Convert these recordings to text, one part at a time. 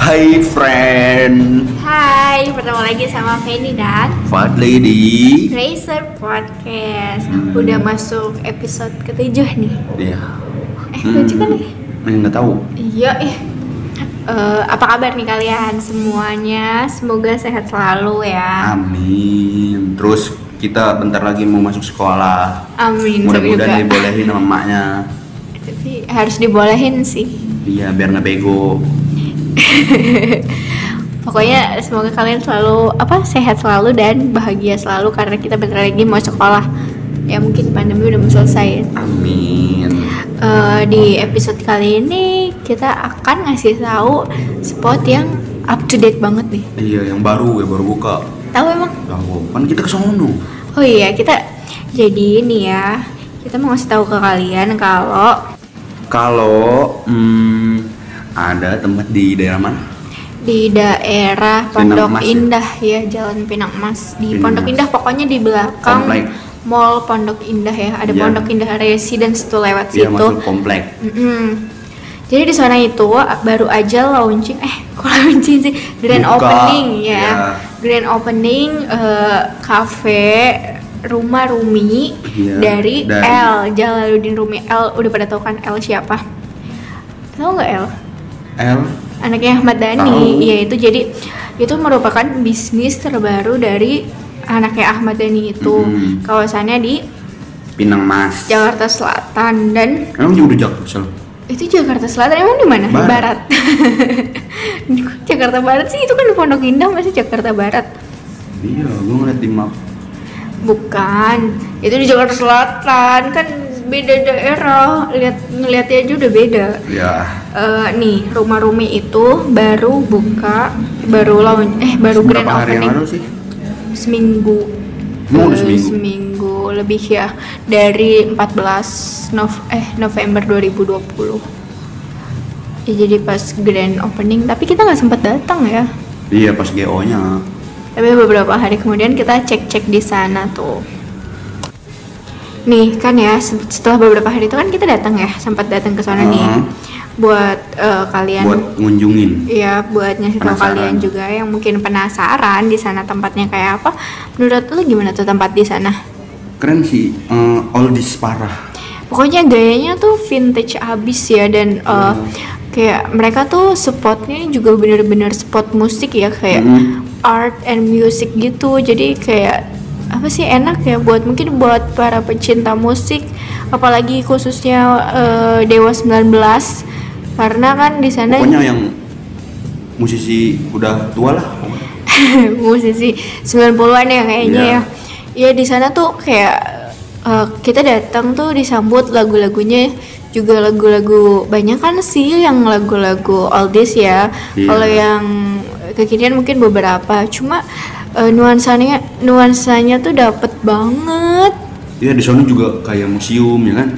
Hai friend, Hai, bertemu lagi sama Feni dan Fat Lady. Racer Podcast. Udah masuk episode ketujuh nih. Ya, Eh, ketujuh kan nih? eh, nggak tahu. Iya, iya. Eh, apa kabar nih kalian semuanya? Semoga sehat selalu ya. Amin. Terus kita bentar lagi mau masuk sekolah. Amin. Mudah-mudahan semoga. dibolehin sama emaknya. Tapi harus dibolehin sih. Iya, biar nggak bego. Pokoknya semoga kalian selalu apa sehat selalu dan bahagia selalu karena kita bentar lagi mau sekolah. Ya mungkin pandemi udah mau selesai. ya. Amin. Eh, di episode kali ini kita akan ngasih tahu spot yang up to date banget nih. Iya, yang baru ya baru buka. Tahu emang? Tahu, kan kita ke sono. Oh iya, kita jadi ini ya. Kita mau ngasih tahu ke kalian kalau Kalau hmm, ada tempat di daerah mana? di daerah Pinang Pondok Emas ya? Indah ya? Jalan Pinang Emas di Pinang Pondok Emas. Indah pokoknya di belakang Komplek. Mall Pondok Indah ya. Ada Iya. Pondok Indah Residence tuh lewat Dia situ. masuk komplek. Mm-mm. Jadi di sana itu baru aja launching eh kok launching sih grand Buka, opening ya. ya. Grand opening eh, kafe rumah Rumi Iya, dari, dari- L Jalaluddin Rumi L udah pada tahu kan L siapa? Tahu nggak L? L. Anaknya Ahmad Dhani. Tahu. Iya itu jadi itu merupakan bisnis terbaru dari anaknya Ahmad Dhani itu Mm-mm. kawasannya di Pinang Mas. Jakarta Selatan dan Emang juga udah Jaksel. itu Jakarta Selatan emang di mana? Barat. Barat. Jakarta Barat sih itu kan di Pondok Indah masih Jakarta Barat. Iya, gue ngeliat di map. Bukan. Itu di Jakarta Selatan kan beda daerah. Lihat ngeliatnya aja udah beda. Ya. Eh, nih rumah Rumi itu baru buka, baru launch, eh baru grand Berapa hari yang opening lalu sih? seminggu. Oh, udah Eh, seminggu. seminggu lebih ya dari 14 Nov eh November 2020. Ya, jadi pas grand opening, tapi kita nggak sempat datang ya. Iya, pas GO-nya. Tapi beberapa hari kemudian kita cek-cek di sana tuh. Nih kan ya se- setelah beberapa hari itu kan kita datang ya, sempat datang ke sana nih. Hmm. Buat eh, kalian Buat ngunjungin. Iya, buat ngasih tahu Penasaran. kalian juga yang mungkin penasaran di sana tempatnya kayak apa. Menurut lu gimana tuh tempat di sana? Keren sih, eh, oldies parah. Pokoknya gayanya tuh vintage abis ya Iya. dan uh, kayak mereka tuh spotnya juga bener-bener spot musik ya kayak Mm-mm. art and music gitu. Jadi kayak apa sih enak ya buat mungkin buat para pecinta musik apalagi khususnya uh, Dewa 19 karena kan di sana Pokoknya ya, yang musisi udah tua lah. musisi 90-an ya kayaknya Iya. ya. Ya di sana tuh kayak eh, kita datang tuh disambut lagu-lagunya juga lagu-lagu banyak kan sih yang lagu-lagu oldies ya. Iya. Kalau yang kekinian mungkin beberapa. Cuma eh, nuansanya nuansanya tuh dapet banget. Iya, di sana juga kayak museum ya kan.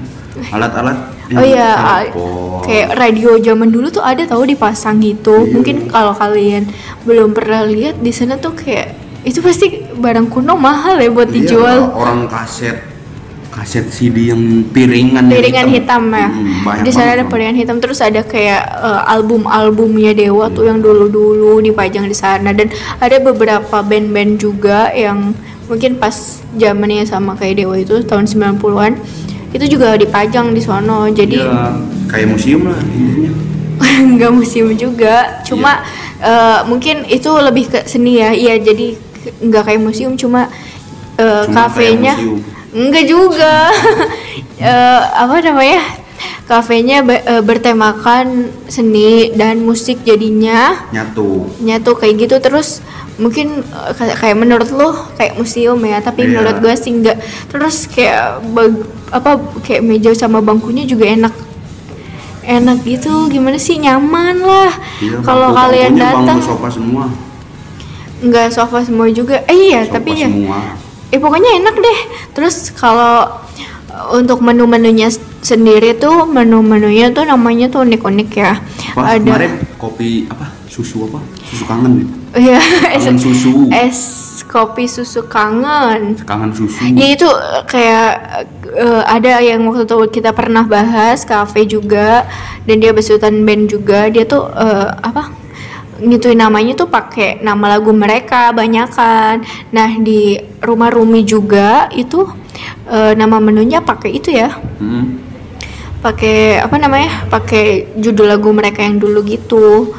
Alat-alat. yang Oh iya, ah, telepon. kayak radio zaman dulu tuh ada tahu dipasang gitu. Iya. Mungkin kalau kalian belum pernah lihat di sana tuh kayak itu pasti barang kuno mahal ya buat Iya, dijual. orang kaset kaset CD yang piringan yang Piringan hitam, ya. Mm, banyak di sana banget ada tuh. piringan hitam terus ada kayak eh, album-albumnya Dewa Iya. tuh yang dulu-dulu dipajang di sana dan ada beberapa band-band juga yang mungkin pas zamannya sama kayak Dewa itu tahun 90-an itu juga dipajang di sono. Jadi Iya, kayak museum lah intinya. nggak museum juga cuma Iya. eh, mungkin itu lebih ke seni ya iya jadi ke- nggak kayak museum cuma eh, Cuma kafenya kayak museum. nggak juga Eh, apa namanya kafenya be- eh, bertemakan seni dan musik jadinya Nyatu. nyatu kayak gitu terus mungkin eh, kayak kayak menurut lo kayak museum ya tapi Iya. menurut gue sih nggak terus kayak bag- apa kayak meja sama bangkunya juga enak enak gitu gimana sih nyaman lah Iya, kalau bangku- kalian bangkunya bangku datang sofa semua. nggak sofa semua juga eh iya Sofa tapi ya semua. eh pokoknya enak deh terus kalau eh, untuk menu-menunya s- sendiri tuh menu-menunya tuh namanya tuh unik-unik ya Wah, kemarin kopi apa? Susu apa? Susu kangen. ya? Iya, es, Kangen susu. es kopi susu kangen. Kangen susu. Ya itu eh, kayak eh, ada yang waktu itu kita pernah bahas kafe juga dan dia besutan band juga. Dia tuh eh, apa? ngituin namanya tuh pakai nama lagu mereka banyakan. Nah, di rumah Rumi juga itu eh, nama menunya pakai itu ya. Mm-mm. Pakai apa namanya? Pakai judul lagu mereka yang dulu gitu.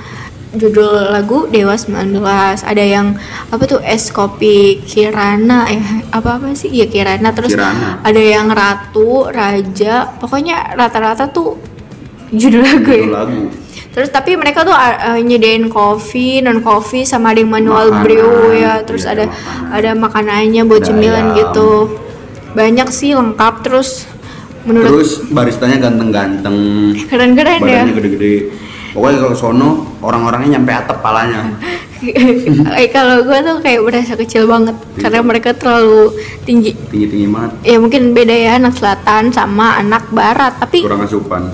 Judul lagu Dewa 19. Ada yang apa tuh es kopi Kirana ya. Apa-apa sih? Iya Kirana terus Kirana. ada yang ratu, raja. Pokoknya rata-rata tuh judul lagu ya. Itu lagu Terus tapi mereka tuh uh, uh, nyediain kopi, non kopi sama ada yang manual Makanan, brew ya. Terus iya, ada makanan. ada makanannya buat Ada cemilan ayam. gitu. Banyak sih lengkap terus menurut terus baristanya ganteng-ganteng keren-keren ya. badannya gede-gede pokoknya kalau sono orang-orangnya nyampe atap palanya Eh, kalau gua tuh kayak berasa kecil banget Iya. karena mereka terlalu tinggi. tinggi-tinggi banget Ya mungkin beda ya anak selatan sama anak barat, tapi kurang asupan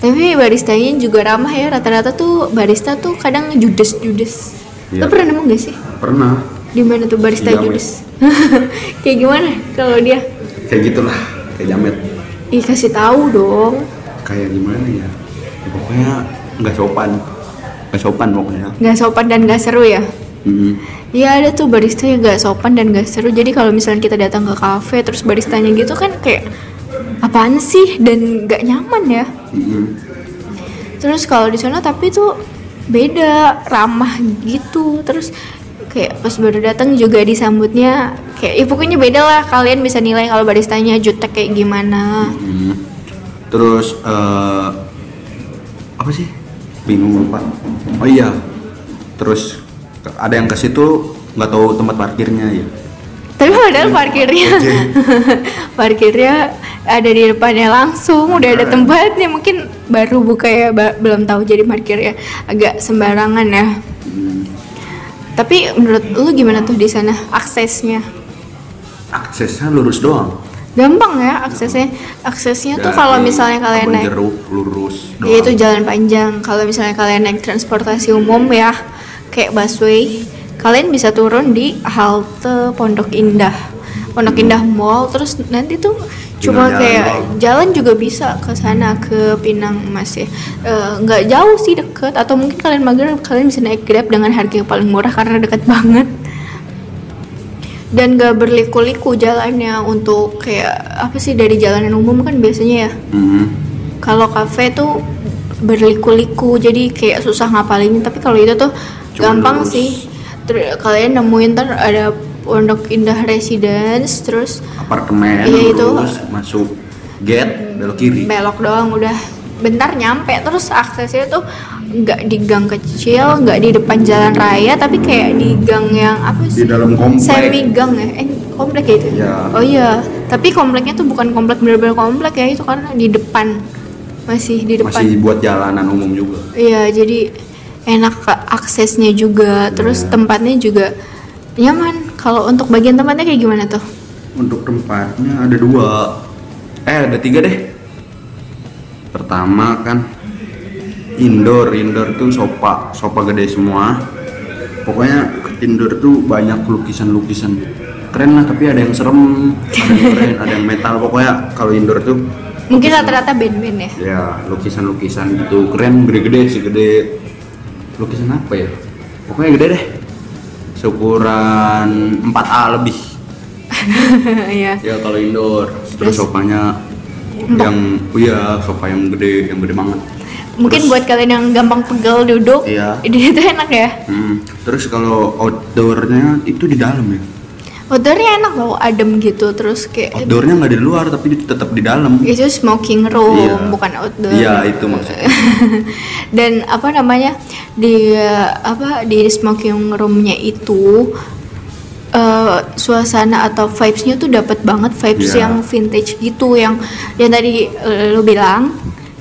tapi baristanya juga ramah ya. Rata-rata tuh barista tuh kadang judes-judes. Iya. Lo pernah nemu gak sih? pernah di mana tuh barista Iya, judes kayak gimana kalau dia kayak gitulah kayak jamet ih kasih tahu dong kayak gimana ya Ya, pokoknya nggak sopan nggak sopan pokoknya Hmm. nggak sopan dan nggak seru ya Mm-mm. Iya ada tuh barista yang nggak sopan dan nggak seru jadi kalau misalnya kita datang ke kafe terus baristanya gitu kan kayak apaan sih dan nggak nyaman ya Mm-mm. terus kalau di sana tapi tuh beda ramah gitu terus kayak pas baru datang juga disambutnya kayak ya pokoknya beda lah kalian bisa nilai kalau baristanya jutek kayak gimana Mm. terus eh, apa sih bingung lupa oh iya terus ke- ada yang ke situ nggak tahu tempat parkirnya ya Tapi padahal parkirnya parkirnya ada di depannya langsung, udah ada tempatnya mungkin baru buka ya, ba- belum tahu jadi parkirnya agak sembarangan ya. Mm. Tapi menurut lu gimana tuh di sana aksesnya? aksesnya lurus doang Gampang ya aksesnya. Aksesnya Iya, tuh Dari kalau misalnya kalian kebun naik jeruk lurus doang ya itu jalan panjang. Kalau misalnya kalian naik transportasi umum ya kayak busway, kalian bisa turun di halte Pondok Indah. Pondok Indah Mall terus nanti tuh cuma Tinggal jalan kayak Hmm. doang. jalan juga bisa ke sana ke Pinang Emas ya. Eh, nggak jauh sih deket atau mungkin kalian mager kalian bisa naik Grab dengan harga yang paling murah karena deket banget. Dan gak berliku-liku jalannya untuk kayak apa sih dari jalanan umum kan biasanya ya Mm. kalau kafe tuh berliku-liku jadi kayak susah ngapalinnya tapi kalau itu tuh Cuma gampang lurus. sih Ter- kalian nemuin ntar ada Pondok Indah Residence terus apartemen Iya, itu. lurus masuk gate belok kiri belok doang udah bentar nyampe terus aksesnya tuh nggak di gang kecil nggak di depan jalan raya tapi kayak di gang yang apa di sih dalam komplek semi gang ya eh komplek ya itu Iya. oh iya tapi kompleknya tuh bukan komplek bener-bener komplek ya itu karena di depan masih di depan masih buat jalanan umum juga Iya, jadi enak ke aksesnya juga, terus tempatnya juga nyaman. Kalau untuk bagian tempatnya kayak gimana tuh? untuk tempatnya ada dua eh ada tiga deh pertama kan indoor indoor tuh sofa sofa gede semua pokoknya indoor tuh banyak lukisan lukisan keren lah tapi ada yang serem ada yang keren ada yang metal pokoknya kalau indoor tuh Mungkin rata-rata band-band ya. ya lukisan lukisan gitu keren gede-gede sih gede lukisan apa ya pokoknya gede deh seukuran 4A lebih Iya. ya kalau indoor terus Terus? sofanya yang iya sofa yang gede yang gede banget Mungkin buat kalian yang gampang pegel duduk, Iya. ide itu enak ya. Hmm, terus kalau outdoornya itu di dalam ya Outdoornya enak loh, adem gitu, terus kayak outdoornya nggak di luar tapi di- tetap di dalam itu smoking room, Iya. bukan outdoor. iya itu maksudnya dan apa namanya di eh, apa di smoking roomnya itu eh, suasana atau vibesnya tuh dapat banget vibes Iya. yang vintage gitu yang yang tadi eh, lu bilang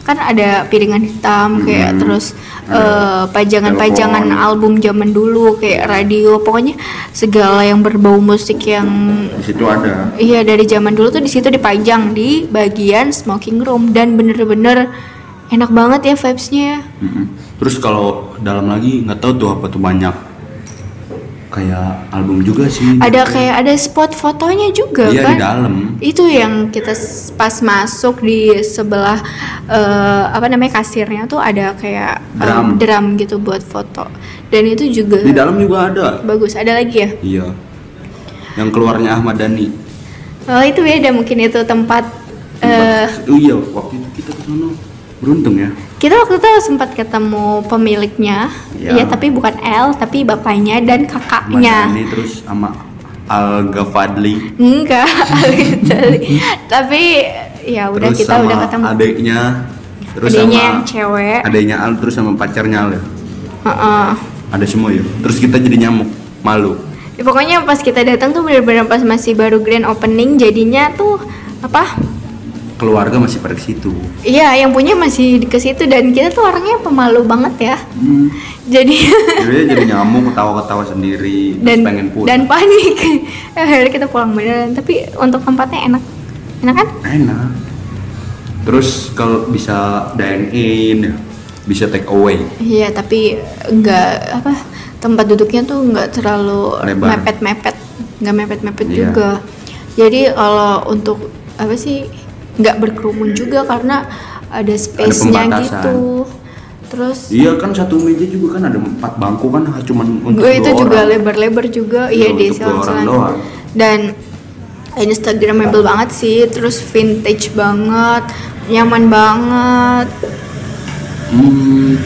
kan ada piringan hitam kayak Mhm. terus Ada eh, pajangan-pajangan telepon. album zaman dulu kayak radio pokoknya segala yang berbau musik yang di situ ada Iya dari zaman dulu tuh di situ dipajang di bagian smoking room dan bener-bener enak banget ya vibesnya. Mm-mm. Hmm. terus kalau dalam lagi nggak tahu tuh apa tuh banyak kayak album juga sih Ada kayak ada spot fotonya juga iya kan? di dalam Itu yang kita s- pas masuk di sebelah eh, apa namanya kasirnya tuh ada kayak eh, Drum. drum gitu buat foto Dan itu juga di dalam juga ada bagus. Ada lagi ya? iya yang keluarnya Ahmad Dhani Oh itu beda mungkin itu tempat. eh Tempat- oh iya waktu itu kita ke sana beruntung ya kita waktu itu sempat ketemu pemiliknya, Iya. ya tapi bukan L, tapi bapaknya dan Ahmad kakaknya. Dhani terus sama Al Gafadli Enggak, literally. tapi ya udah terus kita sama udah ketemu. adiknya terus Adiknya sama yang cewek. adiknya Al terus sama pacarnya Al ya Heeh. ada semua ya terus kita jadi nyamuk malu Ya, pokoknya pas kita datang tuh bener-bener pas masih baru grand opening, jadinya tuh apa? keluarga masih pada ke situ Iya, yang punya masih di- ke situ dan kita tuh orangnya pemalu banget ya. Jadi jadi jadi nyamuk ketawa-ketawa sendiri terus dan pengen pulang dan panik. Eh, Akhirnya kita pulang beneran. Tapi untuk tempatnya enak, enak kan? enak terus kalau bisa dine in ya, bisa take away Iya, tapi nggak apa tempat duduknya tuh nggak terlalu Lebar. mepet-mepet, nggak mepet-mepet Iya. juga. Jadi kalau untuk apa sih nggak berkerumun juga karena ada space-nya pembatasan. gitu. Terus iya kan satu meja juga kan ada empat bangku kan cuman untuk gue itu dua juga orang. lebar-lebar juga, Iya, iya deh untuk dua orang silang-silang. doang. Dan Instagramable banget sih, terus vintage banget, nyaman banget. Hmm,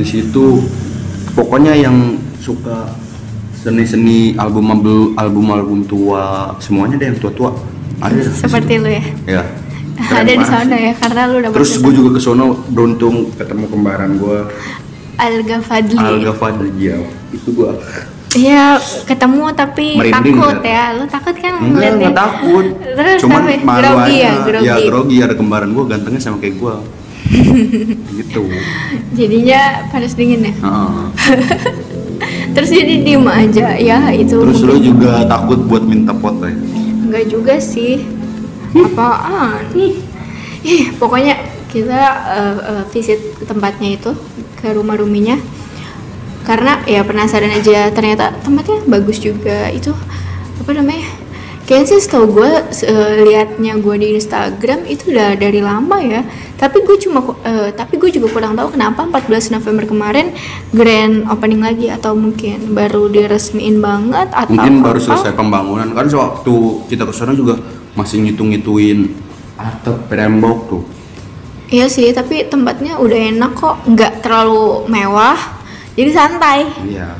di situ pokoknya yang suka seni-seni album album album tua semuanya deh yang tua-tua ada di situ. Seperti lu ya. ya Keren Ada di banget. sana ya karena lu udah terus gue juga ke sono beruntung ketemu kembaran gue Alga Fadli. Alga Fadli ya itu gue Iya, ketemu tapi Merinding takut ya? ya. Lu takut kan enggak ngeliatnya? enggak takut Terus cuman apa? malu Grogi aja ya, grogi. ya grogi ada kembaran gue gantengnya sama kayak gue gitu Jadinya panas dingin ya. Heeh. Terus jadi diem aja ya itu. terus mungkin. lo juga takut buat minta foto ya Enggak juga sih. Apaan? Ih, pokoknya kita eh, eh, visit ke tempatnya itu ke rumah ruminya karena ya penasaran aja ternyata tempatnya bagus juga itu apa namanya kayaknya sih setahu gue liatnya gue di Instagram itu udah dari lama ya tapi gue cuma ku- eh, tapi gue juga kurang tahu kenapa 14 November kemarin grand opening lagi atau mungkin baru diresmiin banget atau mungkin baru apa. selesai pembangunan kan waktu kita ke sana juga masih ngitung-ngituin atap tembok tuh Iya sih, tapi tempatnya udah enak kok, nggak terlalu mewah. Jadi santai. iya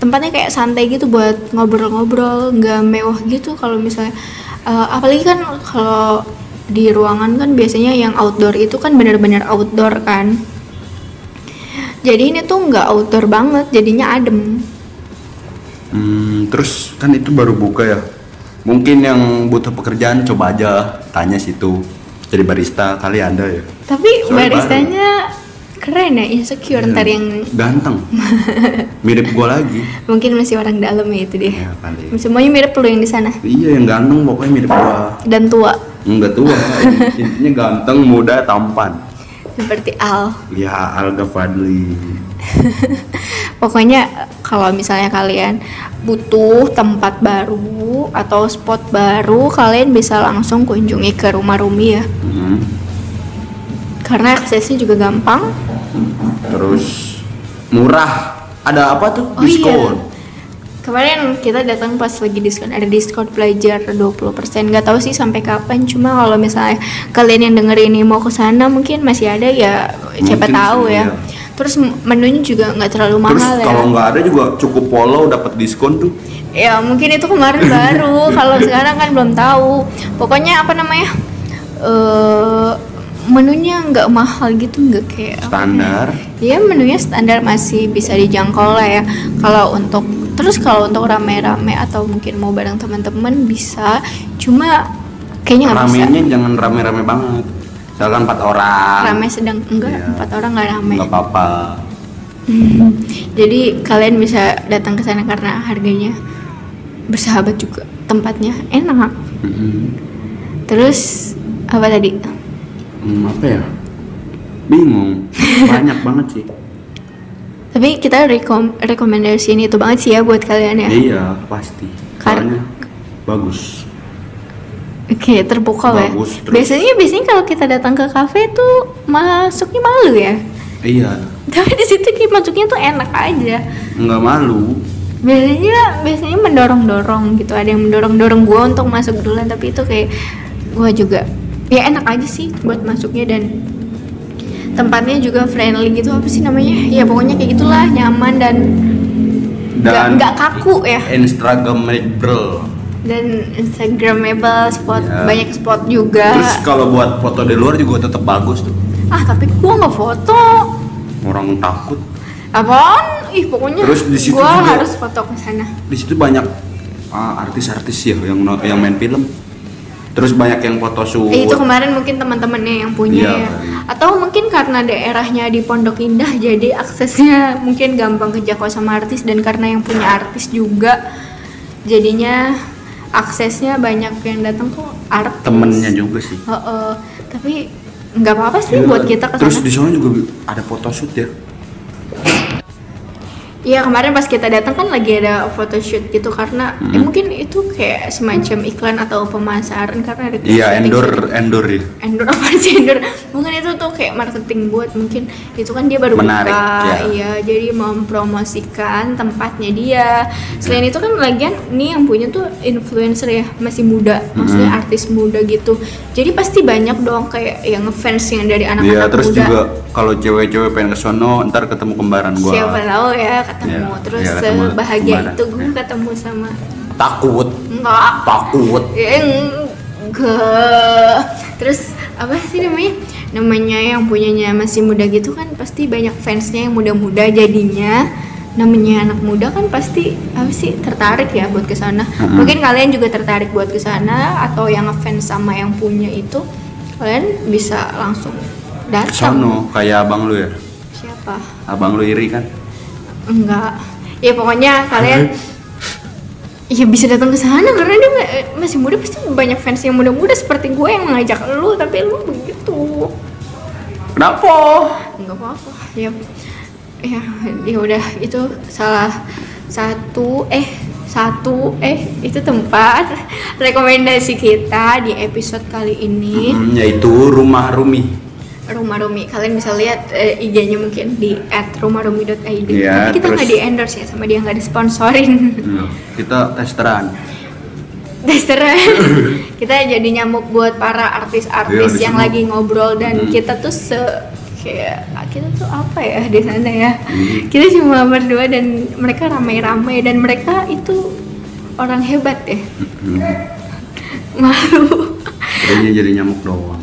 Tempatnya kayak santai gitu buat ngobrol-ngobrol, nggak mewah gitu kalau misalnya eh, apalagi kan kalau di ruangan kan biasanya yang outdoor itu kan benar-benar outdoor kan. Jadi ini tuh nggak outdoor banget, jadinya adem. Hmm, terus kan itu baru buka ya mungkin yang butuh pekerjaan coba aja tanya situ jadi barista kali ada ya Tapi Soalnya Iya. baristanya keren ya, insecure ntar yang ganteng mirip gua lagi mungkin masih orang dalam ya itu dia. ya kali Semuanya mirip lu yang di sana iya yang ganteng pokoknya mirip gua dan tua. enggak tua intinya ganteng muda tampan seperti Al. ya Alga Fadli Pokoknya kalau misalnya kalian butuh tempat baru atau spot baru, kalian bisa langsung kunjungi ke rumah Rumi ya. Hmm. Karena aksesnya juga gampang. terus murah ada apa tuh Oh diskon iya. Kemarin kita datang pas lagi diskon, ada diskon pelajar 20%. Gak tahu sih sampai kapan, cuma kalau misalnya kalian yang denger ini mau ke sana mungkin masih ada ya siapa Mungkin tahu sih, ya. iya. Terus menunya juga nggak terlalu terus mahal ya. kalau nggak ada juga cukup follow dapat diskon tuh Ya mungkin itu kemarin baru, kalau sekarang kan belum tahu. Pokoknya apa namanya? eh menunya nggak mahal gitu, nggak kayak standar Iya menunya standar masih bisa dijangkau lah ya. Kalau untuk terus kalau untuk rame-rame atau mungkin mau bareng teman-teman bisa, cuma kayaknya nggak bisa. ramenya jangan rame-rame banget misalkan empat orang ya? Rame sedang enggak Iya. empat orang nggak rame. nggak apa-apa Hmm. Jadi kalian bisa datang ke sana karena harganya bersahabat juga, tempatnya enak. Mm-mm. Terus apa tadi? Hmm, apa ya bingung banyak banget sih Tapi kita rekom rekomendasiin itu banget sih ya buat kalian ya. iya pasti Kar- soalnya bagus Oke, terpukau ya. Bagus, terus- Biasanya biasanya kalau kita datang ke kafe tuh masuknya malu ya. iya tapi di situ kayak masuknya tuh enak aja nggak malu biasanya biasanya mendorong dorong gitu ada yang mendorong dorong gue untuk masuk duluan tapi itu kayak gue juga ya enak aja sih buat masuknya dan tempatnya juga friendly gitu apa sih namanya ya pokoknya kayak gitulah nyaman dan dan nggak nggak kaku ya Instagramable dan instagramable spot Ya. banyak spot juga terus kalau buat foto di luar juga tetap bagus tuh ah tapi gue nggak foto orang takut apaan ih pokoknya Terus di situ gue juga- harus foto ke sana di situ banyak ah, artis-artis ya yang no- yang main film terus banyak yang foto shoot Eh, itu kemarin mungkin teman-temannya yang punya Iya, ya. kali. Atau mungkin karena daerahnya di Pondok Indah jadi aksesnya mungkin gampang kejangkau sama artis dan karena yang punya artis juga jadinya aksesnya banyak yang datang tuh artis. temennya juga sih Heeh. tapi nggak apa-apa sih buat kita ke terus sana. di sana juga ada foto shoot ya Iya kemarin pas kita datang kan lagi ada photoshoot gitu karena Hmm. eh, mungkin itu kayak semacam iklan atau pemasaran karena ada iya shooting- endor endor ya endorse apa sih endorse mungkin itu tuh kayak marketing buat mungkin itu kan dia baru Menarik, buka ya. iya jadi mempromosikan tempatnya dia selain itu kan lagian ini yang punya tuh influencer ya masih muda maksudnya Mm-mm. artis muda gitu jadi pasti banyak dong kayak yang ngefans yang dari anak-anak Iya muda terus juga kalau cewek-cewek pengen ke sono ntar ketemu kembaran gua siapa tahu ya ketemu Iya, terus iya, ketemu bahagia kemana. itu gue Iya. ketemu sama takut enggak Ya, takut enggak terus apa sih namanya namanya yang punyanya masih muda gitu kan pasti banyak fansnya yang muda-muda jadinya namanya anak muda kan pasti apa sih tertarik ya buat ke sana Mm-mm. mungkin kalian juga tertarik buat ke sana atau yang ngefans sama yang punya itu kalian bisa langsung ke datang sono kayak abang lu ya siapa abang lu iri kan enggak ya pokoknya kalian ya bisa datang ke sana karena dia ma- eh, masih muda pasti banyak fans yang muda-muda seperti gue yang mengajak lu tapi lu begitu kenapa nggak apa-apa ya ya ya udah itu salah satu eh satu eh itu tempat rekomendasi kita di episode kali ini Hmm, yaitu rumah Rumi rumah Rumi kalian bisa lihat eh, IG-nya mungkin di @rumahrumi.id Iya, tapi kita terus- nggak di endorse ya sama dia nggak disponsorin Hmm, kita testeran Dasteran. kita jadi nyamuk buat para Iya, artis-artis di yang sini. lagi ngobrol dan Hmm. kita tuh se kayak kita tuh apa ya di sana ya. Hmm. Kita cuma berdua dan mereka ramai-ramai dan mereka itu orang hebat ya. Hmm, Malu. kayaknya jadi nyamuk doang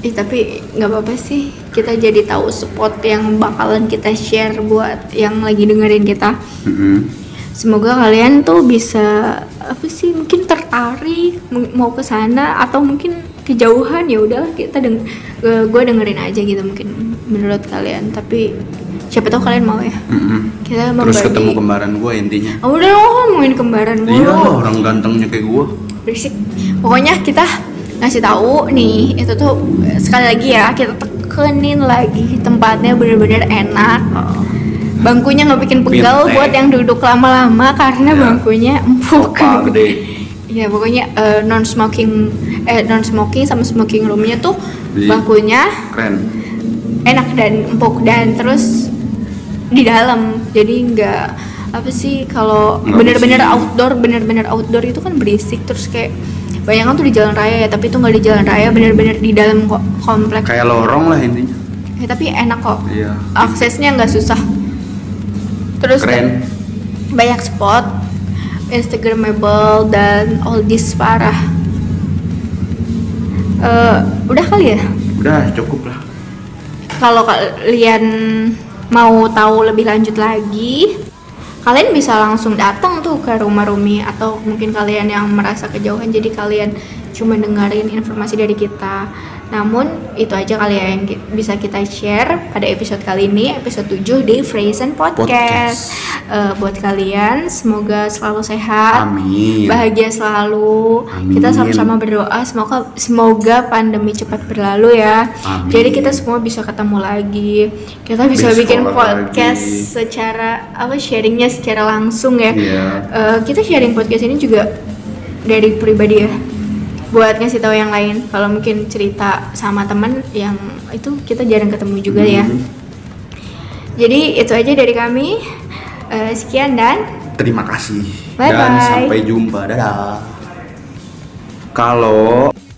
Ih, tapi nggak apa-apa sih. Kita jadi tahu spot yang bakalan kita share buat yang lagi dengerin kita. Hmm, Semoga kalian tuh bisa apa sih mungkin tertarik m- mau ke sana atau mungkin kejauhan ya udahlah kita deng gue dengerin aja gitu mungkin menurut kalian tapi siapa tahu kalian mau ya hmm. kita terus membagi- ketemu kembaran gua intinya Ah, udah lo ngomongin kembaran gue iya orang gantengnya kayak gua berisik pokoknya kita ngasih tahu nih itu tuh eh, sekali lagi ya kita tekenin lagi tempatnya bener-bener enak bangkunya nggak bikin pegal Benteng. buat yang duduk lama-lama karena Ya. bangkunya empuk Sofa gede ya pokoknya non smoking eh non smoking sama smoking roomnya tuh Jadi- bangkunya keren enak dan empuk dan terus di dalam jadi nggak apa sih kalau Nggak bener-bener berisik. outdoor bener-bener outdoor itu kan berisik terus kayak bayangan tuh di jalan raya ya tapi itu nggak di jalan raya bener-bener di dalam kok komplek kayak lorong lah intinya ya, tapi enak kok iya aksesnya nggak susah terus keren banyak spot instagramable dan all this parah Eh, udah kali ya udah cukup lah kalau kalian mau tahu lebih lanjut lagi kalian bisa langsung datang tuh ke rumah Rumi atau mungkin kalian yang merasa kejauhan jadi kalian cuma dengerin informasi dari kita namun itu aja kalian bisa kita share pada episode kali ini episode 7 di Fresen Podcast, Podcast. Eh, buat kalian semoga selalu sehat amin Ah, bahagia selalu. Iya. Amin. Kita sama-sama berdoa semoga semoga pandemi cepat berlalu ya. Amin. Jadi kita semua bisa ketemu lagi. Kita Bisa bisa bikin sekolah podcast lagi. secara apa sharingnya secara langsung ya. Iya. Eh, kita sharing podcast ini juga dari pribadi ya. buat ngasih tahu yang lain kalau mungkin cerita sama teman yang itu kita jarang ketemu juga ya Hmm. jadi itu aja dari kami Eh, sekian dan Terima kasih Bye-bye. dan sampai jumpa. Dadah. Kalau